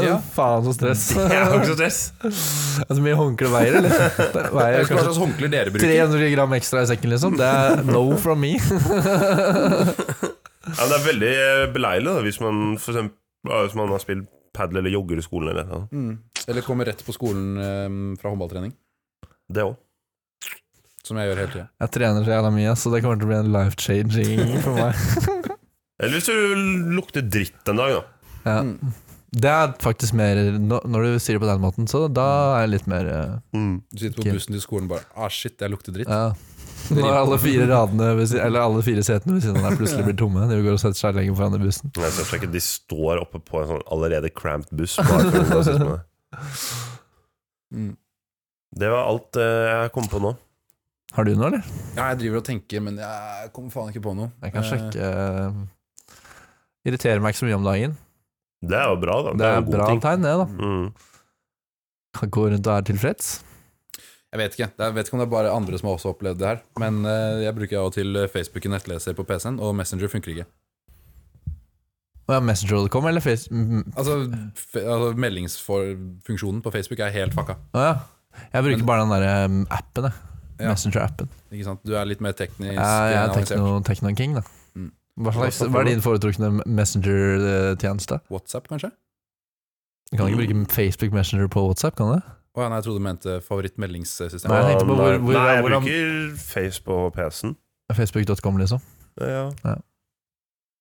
C: Ja.
B: Faen, så stress.
A: Det er jo ikke så stress.
B: Er det så mye håndkle veier, eller? Det
C: Jeg
B: veier
C: vet ikke hva
B: kanskje
C: slags håndklær dere bruker.
B: 300 gram ekstra i sekken, liksom. Det er no from me.
A: Ja, men det er veldig eh, beleilig da, hvis man for eksempel, ja, hvis man har spilt padel eller jogger i skolen eller noe.
C: Mm. Eller kommer rett på skolen eh, fra håndballtrening,
A: Det òg.
C: som jeg gjør hele tida.
B: Jeg trener så jævla mye, så det kommer til å bli en life changing for meg.
A: Eller hvis du lukter dritt en dag, da.
B: Ja. Det er faktisk mer nå- Når du sier det på den måten, så da er jeg litt mer eh,
C: Du sitter på
B: Ok.
C: bussen til skolen og bare Ah, shit, jeg lukter dritt.
B: Ja. Når alle fire radene ved si- Eller alle fire setene ved siden av deg plutselig blir tomme. De går og setter seg lenger foran i bussen.
A: Jeg ser ikke at de står oppe på en sånn allerede cramped buss. Bare for rasisme.
C: Mm.
A: det var alt eh, jeg kom på nå.
B: Har du noe, eller?
C: Ja, jeg driver og tenker, men jeg kommer faen ikke på noe. Eh,
B: Jeg kan sjekke eh, Irriterer meg ikke så mye om dagen.
A: Det er jo bra, da.
B: Det er
A: en god
B: bra
A: ting.
B: tegn, det, da.
A: Mm.
B: Kan gå rundt og er tilfreds.
C: Jeg vet ikke Jeg vet ikke om det er bare andre som har også opplevd det her. Men eh, jeg bruker av og til Facebook i nettleser på PC-en, og Messenger funker ikke.
B: Og ja, Messenger.com eller Face... mm,
C: Altså, fe altså meldingsfunksjonen på Facebook er helt fucka.
B: Å ja. Jeg bruker bare den derre mm, appen, jeg.
C: Ja.
B: Messenger-appen.
C: Ikke sant? Du er litt mer teknisk
B: Jeg, jeg er
C: avansert.
B: tekno, tekno-king, da.
C: Mm.
B: Hva, slags,
A: Hva
B: hva er din foretrukne Messenger-tjeneste?
C: WhatsApp, kanskje?
B: Du kan ikke bruke Facebook Messenger på WhatsApp, kan du?
C: Å ja, nei, jeg trodde du mente favorittmeldingssystemet.
B: Nei, jeg tenkte på hvor- hvor-
A: Nei, jeg
B: hvordan-
A: bruker Face på PC-en.
B: Facebook.com, liksom.
A: Ja.
B: Ja.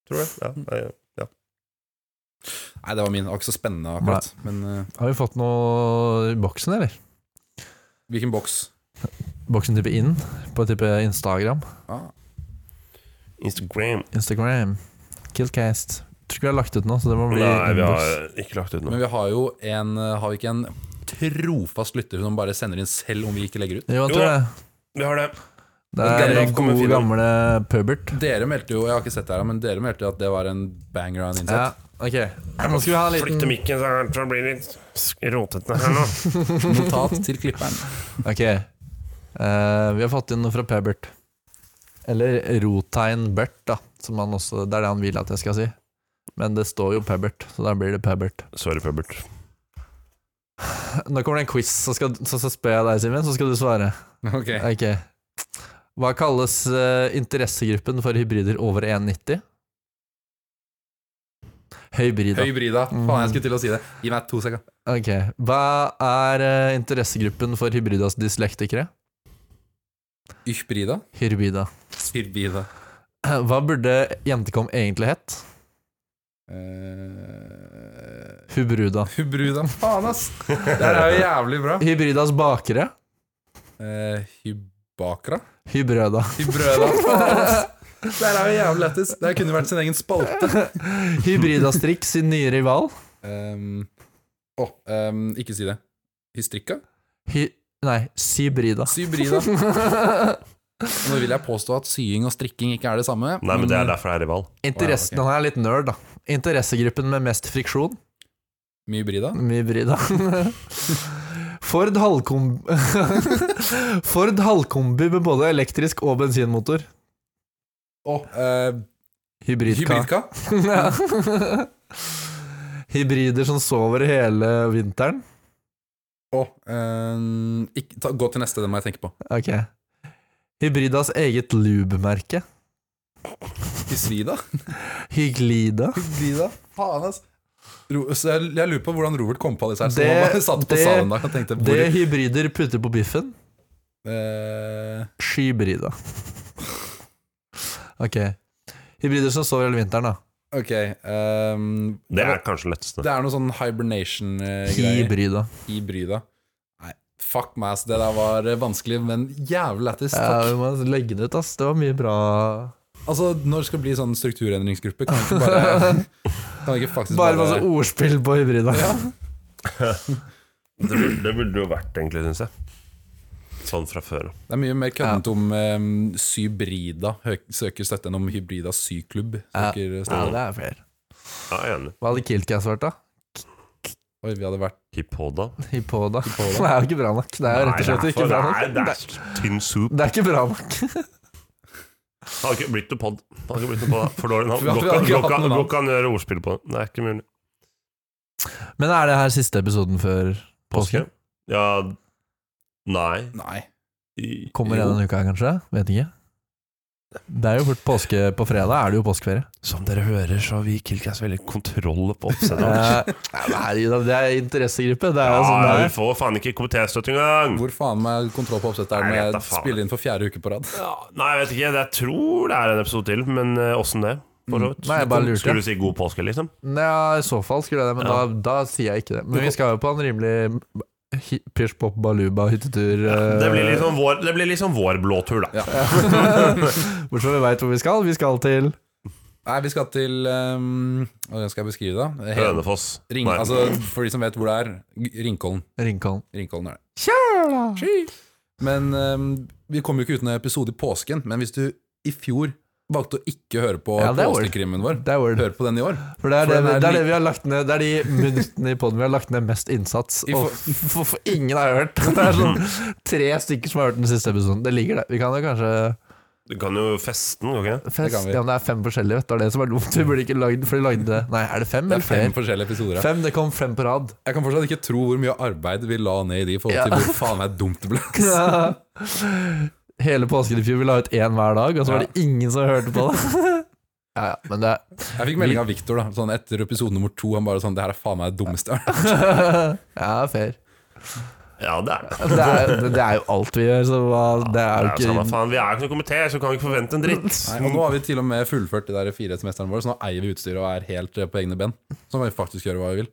A: Tror jeg. Ja, nei, ja.
C: Nei, det var min. Det var ikke så spennende akkurat. Men eh,
B: Har vi fått noe i boksen, eller?
C: hvilken boks?
B: Boksen type inn på type Instagram.
C: Ah,
A: Instagram.
B: Instagram. Killcast. Tror ikke vi har lagt ut noe, så det må bli
A: Nei, vi
B: innboks.
A: har ikke lagt ut
C: men
A: noe.
C: vi har jo en eh, Har vi ikke en trofast lytter som bare sender inn selv om vi ikke legger ut?
B: Jo,
A: Jo
B: jeg tror
A: da.
B: det.
A: Vi har det.
B: Det er
A: Gamle-
B: god, gamle pubert.
C: Dere meldte jo, jeg har ikke sett det her, men dere meldte jo at det var en banger av en innsats.
B: Ja, ok. Nå skal vi ha en
A: Flytte
B: liten
A: mikken, så jeg tror det blir litt rotete her nå.
C: Notat til klipperen.
B: Ok. Eh, vi har fått inn noe fra Pebert. Eller Rotein Bert, da. Som han også, det er det han vil at jeg skal si. Men det står jo Pebert, så da blir det Pebert.
A: Sorry, Pubbert.
B: Nå kommer det en quiz, så, skal, så, så spør jeg deg, Simen, så skal du svare.
C: Ok.
B: Ok. Hva kalles eh, interessegruppen for hybrider over 1,90? Hybrida.
C: Høybrida. Faen, jeg skulle til å si det. Mm. Gi meg to sekunder.
B: Ok. Hva er eh, interessegruppen for hybridas dyslektikere?
C: Ychbrida?
B: Hybrida.
C: Hybrida.
B: Hva burde Jentekom egentlig hett?
C: Uh,
B: Hubruda.
C: Hubruda. Faen, ass! Det her er jo jævlig bra.
B: Hybridas bakere.
C: Eh, hybakra?
B: Hybrøda.
C: Hybrøda. Faen, ass! Det her er jo jævlig lættis. Det her kunne vært sin egen spalte.
B: Hybridas trikk sin nye rival.
C: Ehm, Åh, ehm, ikke si det. Hystrikka?
B: Hy nei, Sybrida.
C: Sybrida. Nå vil jeg påstå at sying og strikking ikke er det samme.
A: Nei, men det er derfor jeg er rival.
B: Interessen
C: Wow,
B: Han er litt nerd, da. Interessegruppen med mest friksjon.
C: Mybrida?
B: Mybrida. Ford halvkom... Ford halvkombi med både elektrisk og bensinmotor.
C: Åh, eh,
B: Hybridka.
C: hybridka?
B: Ja. Hybrider som sover hele vinteren.
C: Åh, ehm, ikke, ta, gå til neste, det må jeg tenke på.
B: Ok. Hybridas eget lube-merke.
C: Hystrida?
B: Hyglida.
C: Hybrida? Faen, ass. Ro, så jeg, jeg lurer på hvordan Robert kom på disse her. Så
B: Det-
C: han bare satt på
B: det-
C: salen der og tenkte hvor,
B: Det hybrider putter på biffen.
C: eh,
B: Skybrida. Ok. Hybrider som sover hele vinteren, da.
C: Ok. ehm,
A: Det er kanskje letteste.
C: det er noe sånn hibernation-greier.
B: Hybrida.
C: Hybrida. Nei, fuck meg, ass. Det der var eh, vanskelig, men jævlig lættis.
B: Ja,
C: Takk.
B: vi må legge det ut, ass. Det var mye bra
C: Altså, når det skal bli sånn strukturendringsgruppe, kan vi ikke bare Kan vi ikke faktisk
B: Bare
C: bare,
B: masse ordspill på hybrida.
A: Det burde, det burde jo vært, egentlig, syns jeg. Sånn fra før.
C: Det er mye mer køddent om ehm, Sybrida hø- søker støtte enn om Hybrida syklubb søker
B: Ja,
C: støtte.
B: det er flere.
A: Ja, jeg er enig.
B: Hva hadde Kiltcast vært, da?
C: Oi, vi hadde vært
A: Hippoda.
B: Hypoda. Det er jo ikke bra nok. Det er jo rett og slett
A: Nei,
B: ikke bra
A: det er-
B: nok.
A: det er tynn soup.
B: Det er ikke bra nok.
A: Det hadde ikke blitt noe pod. Det hadde ikke blitt noe pod. For dårlig navn.
C: Vi hadde- vi hadde ikke hatt noe navn.
A: Går ikke an å gjøre ordspill på det. Det er ikke mulig.
B: Men er det her siste episoden før
A: Påske?
B: påske?
A: Ja Nei.
C: Nei.
A: I-
B: Kommer
A: jo.
B: en denne uka, kanskje? Vet ikke. Det er jo fort påske på fredag. Er det jo påskeferie?
A: Som dere hører, så har vi Kilkas veldig kontroll på oppsettet.
B: Eh, Herregud, det er interessegruppe. Det
A: Ja,
B: er jo sånn det
A: vi
B: er.
A: får faen ikke komitéstøtte engang!
C: Hvor faen meg kontroll på oppsettet er
A: Nei,
C: det
A: jeg
C: når
A: vet da
C: jeg
A: faen.
C: spiller inn for fjerde uke på rad?
A: Ja, nei, jeg vet ikke. Jeg tror det er en episode til, men eh, åssen det? For så vidt.
B: Mm. Nei, jeg bare lurte.
A: Skulle du si god påske, liksom?
B: Ja, i så fall skulle jeg det, men
A: Ja.
B: da, da sier jeg ikke det. Men vi skal jo på en rimelig eh, hi- Pysj pop baluba hyttetur. eh,
A: Det blir liksom vår, det blir liksom vår blåtur, da.
C: Ja. sånn.
B: Bortsett fra vi veit hvor vi skal. Vi skal til
C: Nei, vi skal til ehm, Hvordan skal jeg beskrive det? da? Helt-
A: Hønefoss.
C: Ring,
A: Nei.
C: altså, for de som vet hvor det er, G- Ringkollen.
B: Ringkollen.
C: Ringkollen er det. Men ehm, vi kommer jo ikke uten en episode i påsken. Men hvis du i fjor valgte å ikke høre på
B: Ja, det er weird.
C: påskekrimmen vår,
B: Det er word.
C: hør på den i år.
B: For det er,
C: For
B: det,
C: den er
B: det, er det
C: lik-
B: vi har lagt ned Det er de minuttene i poden vi har lagt ned mest innsats,
C: I
B: og
C: for-
B: for, for ingen har hørt. Det er sånn tre stykker som har hørt den siste episoden. Det ligger der. Vi kan jo kanskje
A: Du kan jo feste den, kan ikke det?
B: fest,
C: kan vi.
B: ja, men Det er fem forskjellige, vet du. Det er det som er dumt. Vi burde ikke lagd For de lagde det Nei, er det fem
C: Det er
B: eller
C: fem
B: flere?
C: forskjellige episoder. her.
B: Fem, det kom fem på rad.
C: Jeg kan fortsatt ikke tro hvor mye arbeid vi la ned i de i forhold til
B: Ja.
C: hvor faen meg dumt det ble.
B: Hele påsken i fjor, vi la ut én hver dag, og så var det ingen som hørte på det. Ja, ja, men det
C: Jeg fikk melding av Victor da, sånn etter episode nummer to. Han bare sånn Det her er faen meg det dummeste jeg har hørt.
B: Ja, fair.
A: Ja, det er det.
B: Det er, det er jo alt vi gjør, så hva- det er
A: Det er jo
B: jo
A: samme
B: ikke
A: faen. Vi er jo ikke noen komité, så kan vi ikke forvente en dritt.
C: Nei, Og nå har vi til og med fullført det der firehetsmesteren vår, så nå eier vi utstyret og er helt eh, på egne ben. Så nå kan vi faktisk gjøre hva vi vil.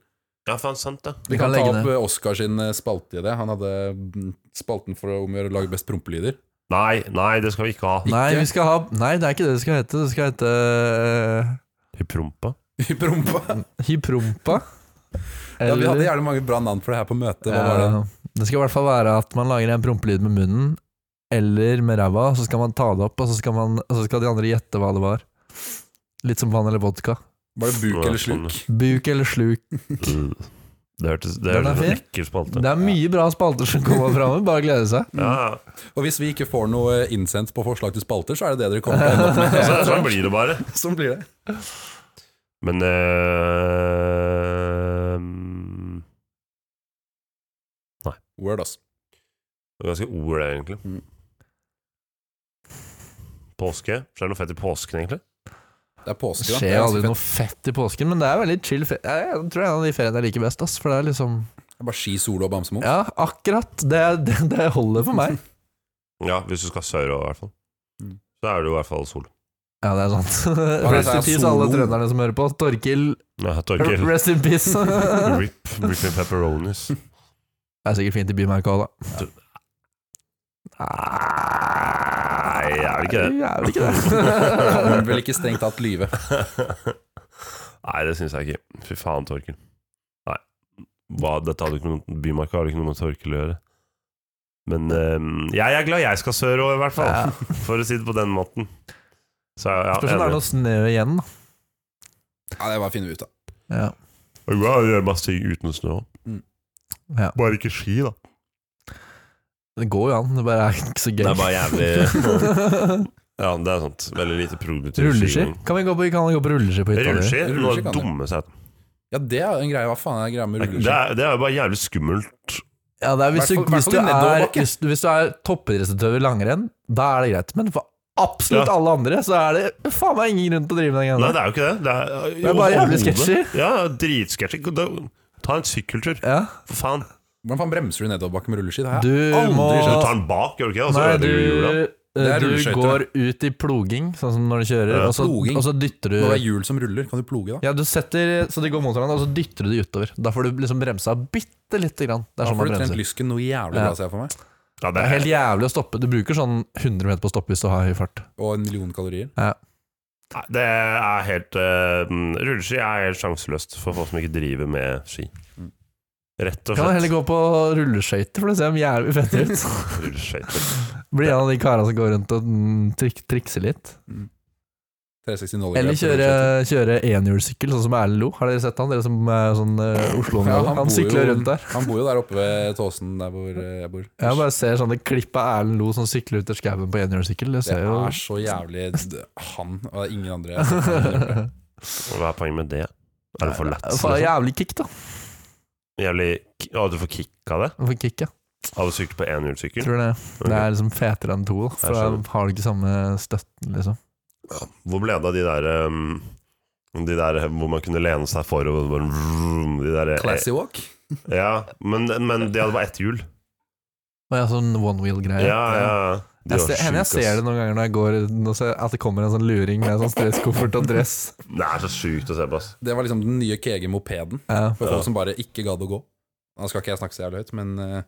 A: Ja, faen, sant det.
B: Vi
C: Vi
B: kan
C: kan, ta
B: legge
C: opp
B: ned.
C: eh, Oscar sin eh, spalte i det. Han hadde mm, spalten for å omgjøre å lage best prompelyder.
A: Nei, nei, det skal vi ikke ha.
B: Nei,
C: Ikke?
B: vi skal ha Nei, det er ikke det det skal hete. Det skal hete eh,
A: I prompa.
C: I prompa.
B: Hyprompa.
C: Ja, vi hadde gjerne mange bra navn for det her på møtet. Hva var det?
B: Ja, det skal i hvert fall være at man lager en prompelyd med munnen, eller med ræva, så skal man ta det opp, og så skal, man, og så skal de andre gjette hva det var. Litt som vann eller vodka.
C: Var det buk
A: Ja,
C: eller
A: sånn,
C: sluk?
B: Buk eller sluk.
A: Mm. Det hørtes det
B: Den
A: hørtes ut som en
B: er fin.
A: ekkel spalte.
B: Det er mye bra spalter som kommer framme, bare glede seg.
A: Ja, ja.
C: Og hvis vi ikke får noe eh, innsendt på forslag til spalter, så er det det dere kommer til å ende opp med.
A: Altså, sånn blir det bare.
C: Sånn blir det.
A: Men eh, mm,
C: Word, ass.
A: Det er ganske ord, det, egentlig.
C: Mm.
A: Påske? Skjer det noe fett i påsken, egentlig?
C: Det er
B: Det
C: påske, da.
B: skjer aldri
C: ganske
B: noe fett i påsken, men det er veldig chill ferie. Jeg jeg tror det er en av de feriene jeg liker best. Ass, for det er liksom
C: fett. Det er Bare ski, solo og bamsemo.
B: Ja, akkurat. Det, det, det holder for meg.
A: Ja, hvis du skal sørover, i hvert fall.
C: Mm.
A: Så er det jo i hvert fall sol.
B: Ja, det er sant.
C: det
B: Rest
C: er
B: in peace, alle
C: solo.
B: trønderne som hører på. Torkil,
A: Ja, Torgeir.
B: rest in peace. Det
A: eh, Rip, rip in pepperonis.
B: er sikkert fint i bymerket òg, da.
A: Du- Nei, er det ikke det?
B: Nei, er det ikke
C: Men
B: det?
C: vel ikke strengt tatt lyve.
A: Nei, det syns jeg ikke. Fy faen, Torkil. Nei. Hva, dette hadde ikke noe, bymarka hadde ikke noe med Torkil å gjøre. Men eh, jeg er glad jeg skal sørover, i hvert fall.
B: Ja.
A: For å si det på den måten. Så ja,
B: Spørs om det er
A: enig.
B: noe snø igjen, da.
C: Ja, det er bare å finne ut av.
B: Ja.
A: Og Ja, jeg gjør masse ting uten snø òg.
B: Ja.
A: Bare ikke ski, da.
B: Det går jo an, det bare er ikke så gøy.
A: Det er bare jævlig Ja, det er sant. Veldig lite produktiv
B: Rulleski?
A: skigåing.
B: Kan vi gå på, kan vi gå på rulleski på hytta? di?
A: Rulleski? Noe
C: Rulleski
A: av
C: kan
A: det
C: du.
A: dummeste jeg
C: Ja, det er jo en greie. Hva faen er greia med
A: har Det
C: rulleski?
A: er- det er jo bare jævlig skummelt.
B: Ja, det er hvis, du, hvis,
C: Hvertfall-
B: du
C: hvertfall i
B: er,
C: nedoverbakke.
B: hvis, du, hvis du er toppidrettsutøver i langrenn, da er det greit. Men for absolutt
A: Ja.
B: alle andre, så er det faen meg ingen grunn til å drive med den
A: Nei,
B: greia.
A: det er jo ikke det. Det er,
B: Det er bare jævlig
A: overhodet.
B: sketchy.
A: Ja, dritsketchy. Da- Ta en sykkeltur,
B: der. Ja.
A: for faen.
C: Hvordan faen bremser du nedoverbakke med rulleski? Det har jeg
B: Du
C: aldri
B: må-
A: Du
C: skjønt.
A: tar den bak, gjør du ikke? det? Og så
B: Nei, du, eh,
A: ødelegger du hjula.
C: altså, Det er
B: du
C: rulleskøyter,
B: går ut i ploging, sånn som når du kjører,
A: Ja,
B: og, så,
C: ploging.
B: og så dytter
C: Når det
B: du
C: er hjul som ruller, kan du ploge da?
B: ja, du setter, Så de går mot hverandre, og så dytter du de utover. Da får du liksom bremsa bitte lite grann. Det
C: Da
B: er sånn
C: får
B: man
C: du trent
B: bremser.
C: lysken noe jævlig
B: Ja.
C: bra, ser jeg for meg.
A: Ja,
B: Det
A: det
B: er helt
A: er
B: jævlig å stoppe. Du bruker sånn 100 meter på å stoppe hvis du har høy fart.
C: Og en million kalorier.
A: Nei, det er helt eh, mm, Rulleski er helt sjanseløst for folk som ikke driver med ski.
C: Mm.
A: Rett og
B: Kan du heller
A: slett.
B: gå på rulleskøyter, for det ser jævlig fett ut.
A: Rulleskøyter.
B: Bli en av de karene som går rundt og mm, trik trikser litt.
C: 360 nåler.
B: Eller kjøre, kjøre enhjulssykkel, sånn som Erlend Lo. Har dere sett han? Dere som er sånn eh,
C: Ja,
B: Oslo-område.
C: han
B: han
C: bor
B: sykler
C: jo-
B: rundt der.
C: Han bor jo der oppe ved Tåsen, der hvor eh, jeg bor.
B: Jeg bare ser sånne klipp av Erlend Lo som sykler ut av skauen på enhjulssykkel. Det
C: Det
B: ser jo
C: er så jævlig d- Han og det er ingen andre. jeg har sett han gjøre.
A: Og Hva er poenget med det? Er det for lett?
B: Faen,
A: liksom?
B: Jævlig kick, da.
A: Jævlig k- Å, du får kick av det?
B: For kick, ja.
A: Av å sykle på enhjulssykkel?
B: Tror det.
A: Ok.
B: Det er liksom fetere enn to, da. For da
A: skjønner.
B: har du ikke samme støtten, liksom.
A: Hvor ble det av de der um, De der um, hvor man kunne lene seg forover og bare vroom, De der eh,
C: Classy walk.
A: Ja, men, men de hadde bare ett hjul.
B: Og jeg har sånn one
A: Ja,
B: wheel-greie.
A: ja. ja. De
B: Jeg
A: var
B: ser, hender jeg
A: sjuke,
B: ser
A: ass.
B: det noen ganger når jeg går nå ser jeg at det kommer en sånn luring med sånn stresskoffert og dress.
A: Det er så sjukt å se på, ass.
C: Det var liksom den nye KG-mopeden
B: Ja.
C: for
A: Ja.
C: folk som bare ikke gadd å gå. Nå skal ikke jeg snakke så jævlig høyt, men eh,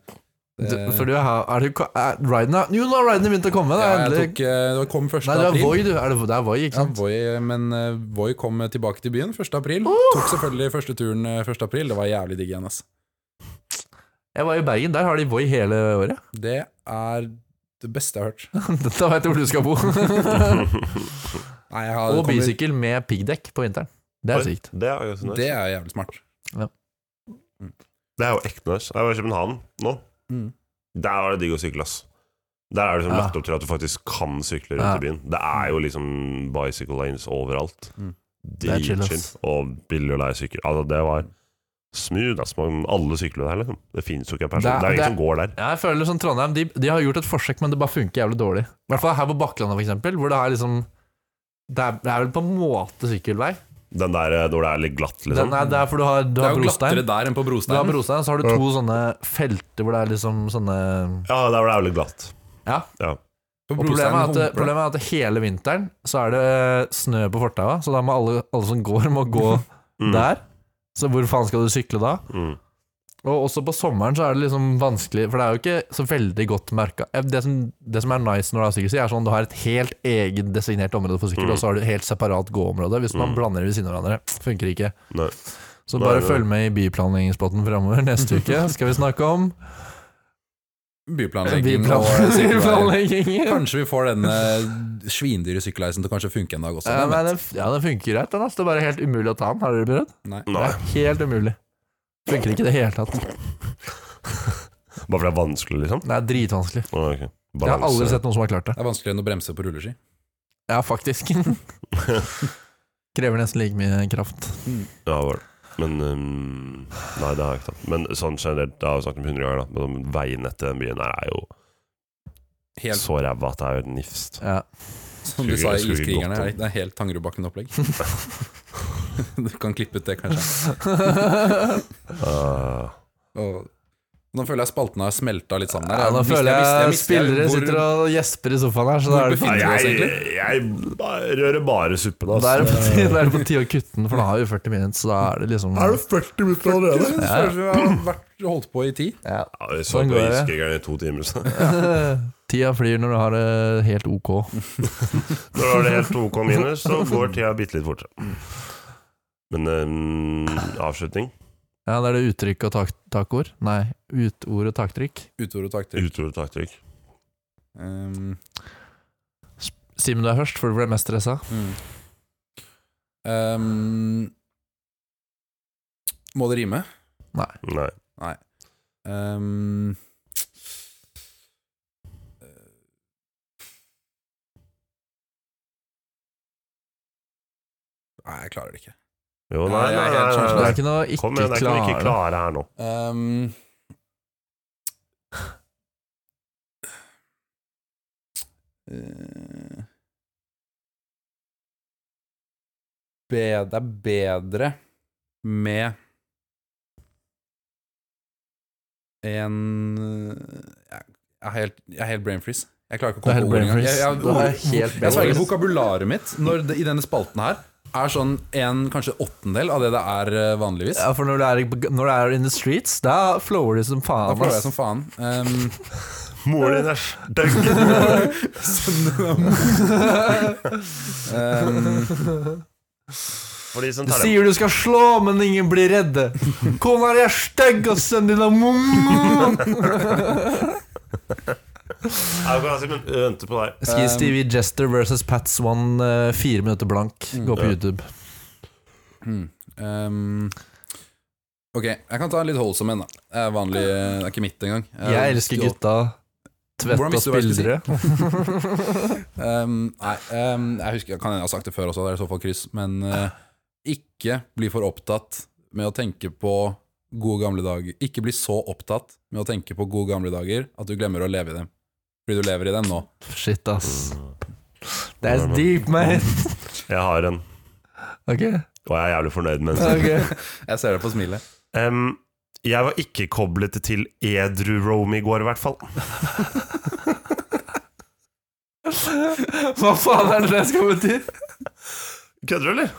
C: det,
B: Du, for du har, er du ka- er, Ryden har Jo, nå har Ryden begynt å komme! Det
C: ja,
B: er
C: jeg
B: endelig
C: tok, eh, Det kom 1.
B: Nei, det er
C: april.
B: Voi, du. Er det, det er Voi, ikke
C: Ja,
B: sant?
C: Voi, men eh, Voi kom tilbake til byen 1. april. Tok selvfølgelig første turen eh, 1. april. Det var jævlig digg igjen, ass.
B: Jeg var i Bergen. Der har de Voi hele året.
C: Det er det beste jeg har hørt.
B: da vet jeg hvor du skal bo.
C: Nei, jeg har,
B: og
C: kommer-
B: bysykkel med piggdekk på vinteren. Det
A: Oi.
B: er sykt.
A: Det er jo så nice.
C: Det er jævlig smart.
A: Det er jo ekte nice. Jeg var i København nå.
C: Mm.
A: Der var det digg å sykle, ass. Der er det liksom
B: Ja.
A: lagt opp til at du faktisk kan sykle rundt
B: Ja.
A: i byen. Det er jo liksom bicycle lanes overalt.
C: Mm.
B: er chill,
A: Dritchill.
B: ass.
A: Og billig å leie sykkel. Altså, det var smooth, ass. Man, alle sykler der, liksom. Det finnes jo ikke en person.
B: Det
A: Det
B: er-
A: er, ingen
B: det-
A: som går der.
B: Jeg føler som Trondheim de, de har gjort et forsøk, men det bare funker jævlig dårlig. I hvert fall her på Bakklandet, for eksempel, hvor det er liksom det er, det er vel på en måte sykkelvei.
A: Den der eh, når det er litt glatt, liksom.
B: Den er der, for du har, du
C: Det
B: har
C: er jo
B: brostein.
C: glattere der enn
B: Du
C: på
B: har
C: brosteinen.
B: brostein, så har du to sånne felter hvor det er liksom sånne
A: Ja, der var det jævlig glatt.
B: Ja.
A: Ja.
C: På
B: Og problemet
C: brosteinen
B: er, at,
C: humper det.
B: problemet er at hele vinteren så er det eh, snø på fortaua, så da må alle, alle som går, må gå
A: Mm.
B: der. Så hvor faen skal du sykle da?
A: Mm.
B: Og også på sommeren så er det liksom vanskelig, for det er jo ikke så veldig godt merka. Det, som- det som er nice når du har sykkelsti, er sånn du har et helt eget designert område for sykkel,
A: Mm.
B: og så har du et helt separat gåområde. Hvis man
A: Mm.
B: blander det ved siden av hverandre, funker ikke.
A: Nei.
B: Så
A: Nei,
B: bare
A: det-
B: følg med i byplanleggingspotten framover neste uke, skal vi snakke om
C: byplanlegging. og sykkelveier.
B: Byplanleggingen.
C: Kanskje vi får denne eh, svindyre sykkelheisen til å kanskje funke en dag også.
B: Ja,
C: hvem
B: men
C: vet?
B: den, ja, den funker greit. Den, ass. Det er bare helt umulig å ta den. Har dere prøvd?
C: Nei.
B: Det
A: Nei,
B: er helt umulig. Funker ikke i det hele tatt.
A: Bare fordi det er vanskelig, liksom?
B: Det er dritvanskelig.
A: Å, ok.
B: Jeg har aldri
A: Balanse.
B: sett noen som har klart det.
C: Det er vanskeligere enn å bremse på rulleski.
B: Ja, faktisk. Krever nesten like mye kraft.
A: Ja, var det. Men ehm, Nei, det har jeg ikke tatt. Men sånn generelt, det har jeg jo snakket om hundre ganger, da. Men om veinettet i den byen her er jo
C: Helt
A: så ræva at det er jo nifst.
B: Ja.
C: som du
A: Skulle-
C: sa i
A: skulle ikke
C: Iskrigerne,
A: gått
C: er
A: om.
C: det- det er helt Tangerudbakken-opplegg. du kan klippe ut det, kanskje.
A: Ah,
C: Og nå føler jeg spalten har smelta litt sammen. her.
B: Ja, nå
C: visste-
B: føler jeg,
C: visste- jeg
B: spillere
C: visste-
B: sitter og gjesper i sofaen her, så da
C: Hvor
B: er det på,
C: befinner-
A: nei,
C: Finner vi oss
A: jeg, jeg bare rører bare suppen,
B: da er
A: altså.
B: det på, tide, da er det på tide å kutte den, for nå har vi 40 minutter, så da er det liksom
A: det 40 minutter
C: hvor det føles som vi har vært- holdt på i tid.
B: ja.
A: Ja, vi så
B: Sånn
A: på
B: går det.
A: Iskrigerne i to timer, så.
B: Tida flyr når du har det helt ok.
A: Når det er helt 2K minus, så går tida bitte litt fortere. Men ehm, avslutning?
B: Ja, det er det uttrykk og tak takord. Nei, utord og taktrykk.
C: Utord og takter.
A: Utrolig taktikk.
C: Um,
B: Simen, du er først, for du ble mest stressa.
C: mm. um, må det rime?
A: Nei.
C: Um, eh, Nei, jeg klarer det ikke.
A: Jo, nei,
C: Nei, jeg
A: nei,
C: er
A: nei,
C: helt
A: nei,
B: Det er
A: nei.
B: ikke noe ikke,
A: Kom igjen, det er ikke noe ikke
B: klare.
A: klare her nå.
C: Um, eh, be, det er bedre med en eh, Jeg jeg er helt, jeg er helt brain freeze. Jeg klarer ikke å
B: Det er
C: komme
B: helt
C: på ordet
B: brain
C: engang.
B: freeze.
C: Jeg, jeg,
B: Det er
C: ord-
B: helt
C: jeg
B: brain
C: sverger
B: freeze.
C: vokabularet mitt når det, i denne spalten her er sånn en kanskje åttendel av det det er eh, vanligvis.
B: Ja, for når du, er, i- når du er in the streets, da flower du som faen.
C: Da flår
B: ass.
C: jeg som faen. Um,
A: Moren din er stygg!
C: um,
A: For de som
B: Du
A: tar det
B: sier du skal slå, men ingen blir redde. Kona di er stygg, og sønnen din er mom.
A: Jeg kan si, men venter på deg.
B: Skal Stevie Jester versus Pat Swan, eh, fire minutter blank.
C: Mm.
B: Gå på
A: Ja.
B: YouTube.
C: um, hmm, ok, jeg kan ta en litt holdsom en. da. Det er vanlig, det er ikke mitt engang. Eh,
B: Jeg elsker gutta. Tvett
C: Hvordan
B: og
C: visste du hva jeg
B: spillere.
C: Um, nei, um, jeg husker, jeg kan hende jeg har sagt det før også, det er i så fall kryss, men uh, ikke bli for opptatt med å tenke på gode gamle dager. Ikke bli så opptatt med å tenke på gode gamle dager at du glemmer å leve i dem. Fordi du lever i dem nå.
B: Shit, ass.
A: Mm.
B: That's deep, man.
A: Jeg har en,
B: Ok.
A: og jeg er jævlig fornøyd med den.
B: ok
C: Jeg ser det på smilet.
A: Em, jeg var ikke koblet til edru Rome i går, i hvert fall.
B: Hva faen er det det skal bety?
A: Kødder du, eller?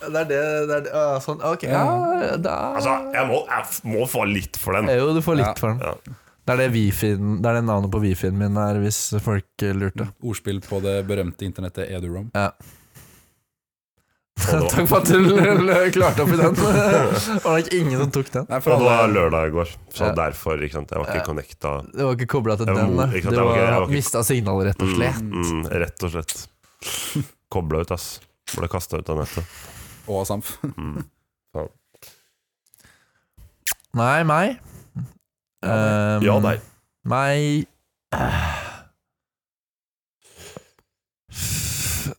B: Det er det, det, er det ah, Sånn, ok. Ja, da
A: Altså, jeg må, jeg f- må få litt for den.
B: Jo, du får litt
C: Ja.
B: for den.
A: Ja.
B: Det er det, wifien, det er det navnet på wifien min er, hvis folk eh, lurte.
C: Ordspill på det berømte internettet Edurom.
A: Og det
B: Takk for at du l- l- klarte opp i den. Det var nok ingen som tok den.
C: Nei, for
A: var, og det
C: alle-
A: var lørdag i går, så
B: Ja.
A: derfor ikke sant? jeg var
B: Ja.
A: ikke connecta.
B: Det var ikke kobla til
A: Jeg var
B: den.
A: mo-
B: da.
A: ikke sant,
B: Det
A: jeg var ikke- jeg
B: var
A: var ikke-
B: Mista signalet, rett og slett.
A: Mm, mm, rett og slett. Kobla ut, ass. Ble kasta ut av nettet.
C: og Samf.
A: Mm.
B: Nei, meg.
C: Ja,
B: Um,
A: Ja, nei.
B: Meg eh. F-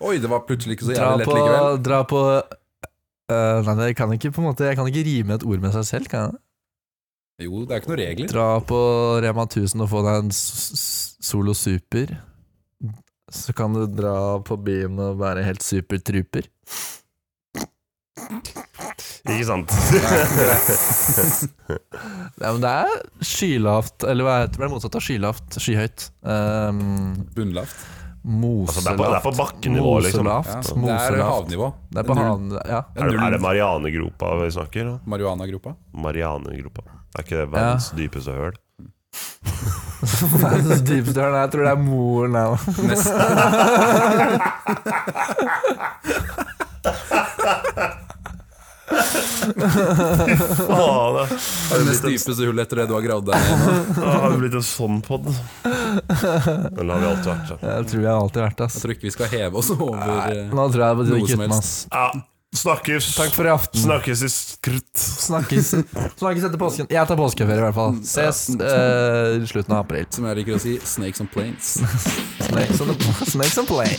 C: Oi, det var plutselig ikke så
B: Dra
C: jævlig lett
B: på,
C: likevel.
B: dra på eh, Nei, jeg kan ikke på en måte Jeg kan ikke rime et ord med seg selv, kan jeg?
C: Jo, det er ikke noen regler.
B: Dra på Rema 1000 og få deg en s- s- Solo Super. Så kan du dra på byen og være helt supertruper.
A: Ikke sant?
B: Nei, men det er skylavt, eller hva heter det? det? er Motsatt av skylavt. Skyhøyt. Um,
C: Bunnlavt.
A: Altså, det, er på, det er
B: moselavt.
A: på bakkenivå, liksom.
B: Moselavt.
C: Ja, det er
B: Moselavt.
C: havnivå.
B: Det er på han, ja.
A: Er det, er det
C: null
A: Marianegropa vi snakker om?
C: Marihuana-gruppa.
A: Marianegropa. Det er ikke det verdens dypeste høl?
B: Verdens dypeste hjørne. Jeg tror det er moren her. da.
C: Nesten.
A: Faen, da.
C: Det er det dypeste hullet etter det du har gravd deg ned. i.
A: Da har det blitt en sånn pod. Den har vi alltid vært. Så.
B: Jeg tror jeg har alltid vært ass.
C: Jeg tror ikke vi skal heve oss over eh,
B: Nå tror jeg på tide å
C: Noe som
B: kutte meg, ass.
A: Ja, snakkes.
B: Takk for i aften.
A: Snakkes i skrutt.
B: Snakkes, snakkes etter påsken. Jeg tar påskeferie, i hvert fall. Ses eh, i slutten av april.
C: Som jeg liker å si, Snakes on planes.
B: Snakes on, snakes on plane.